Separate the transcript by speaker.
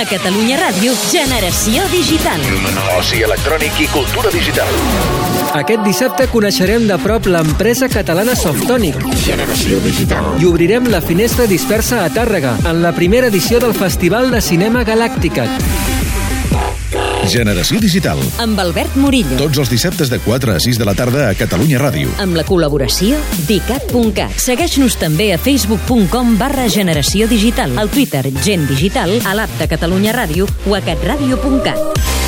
Speaker 1: A Catalunya Ràdio, Generació Digital.
Speaker 2: Oci electrònic i cultura digital.
Speaker 3: Aquest dissabte coneixerem de prop l'empresa catalana Softonic i obrirem la finestra dispersa a Tàrrega en la primera edició del Festival de Cinema Galàctica.
Speaker 4: Generació digital.
Speaker 1: Amb Albert Murillo.
Speaker 4: Tots els dissabtes de 4 a 6 de la tarda a Catalunya Ràdio.
Speaker 1: Amb la col·laboració d'ICAT.cat. Segueix-nos també a facebook.com barra generació digital, al Twitter Gent Digital, a l'app de Catalunya Ràdio o a catradio.cat.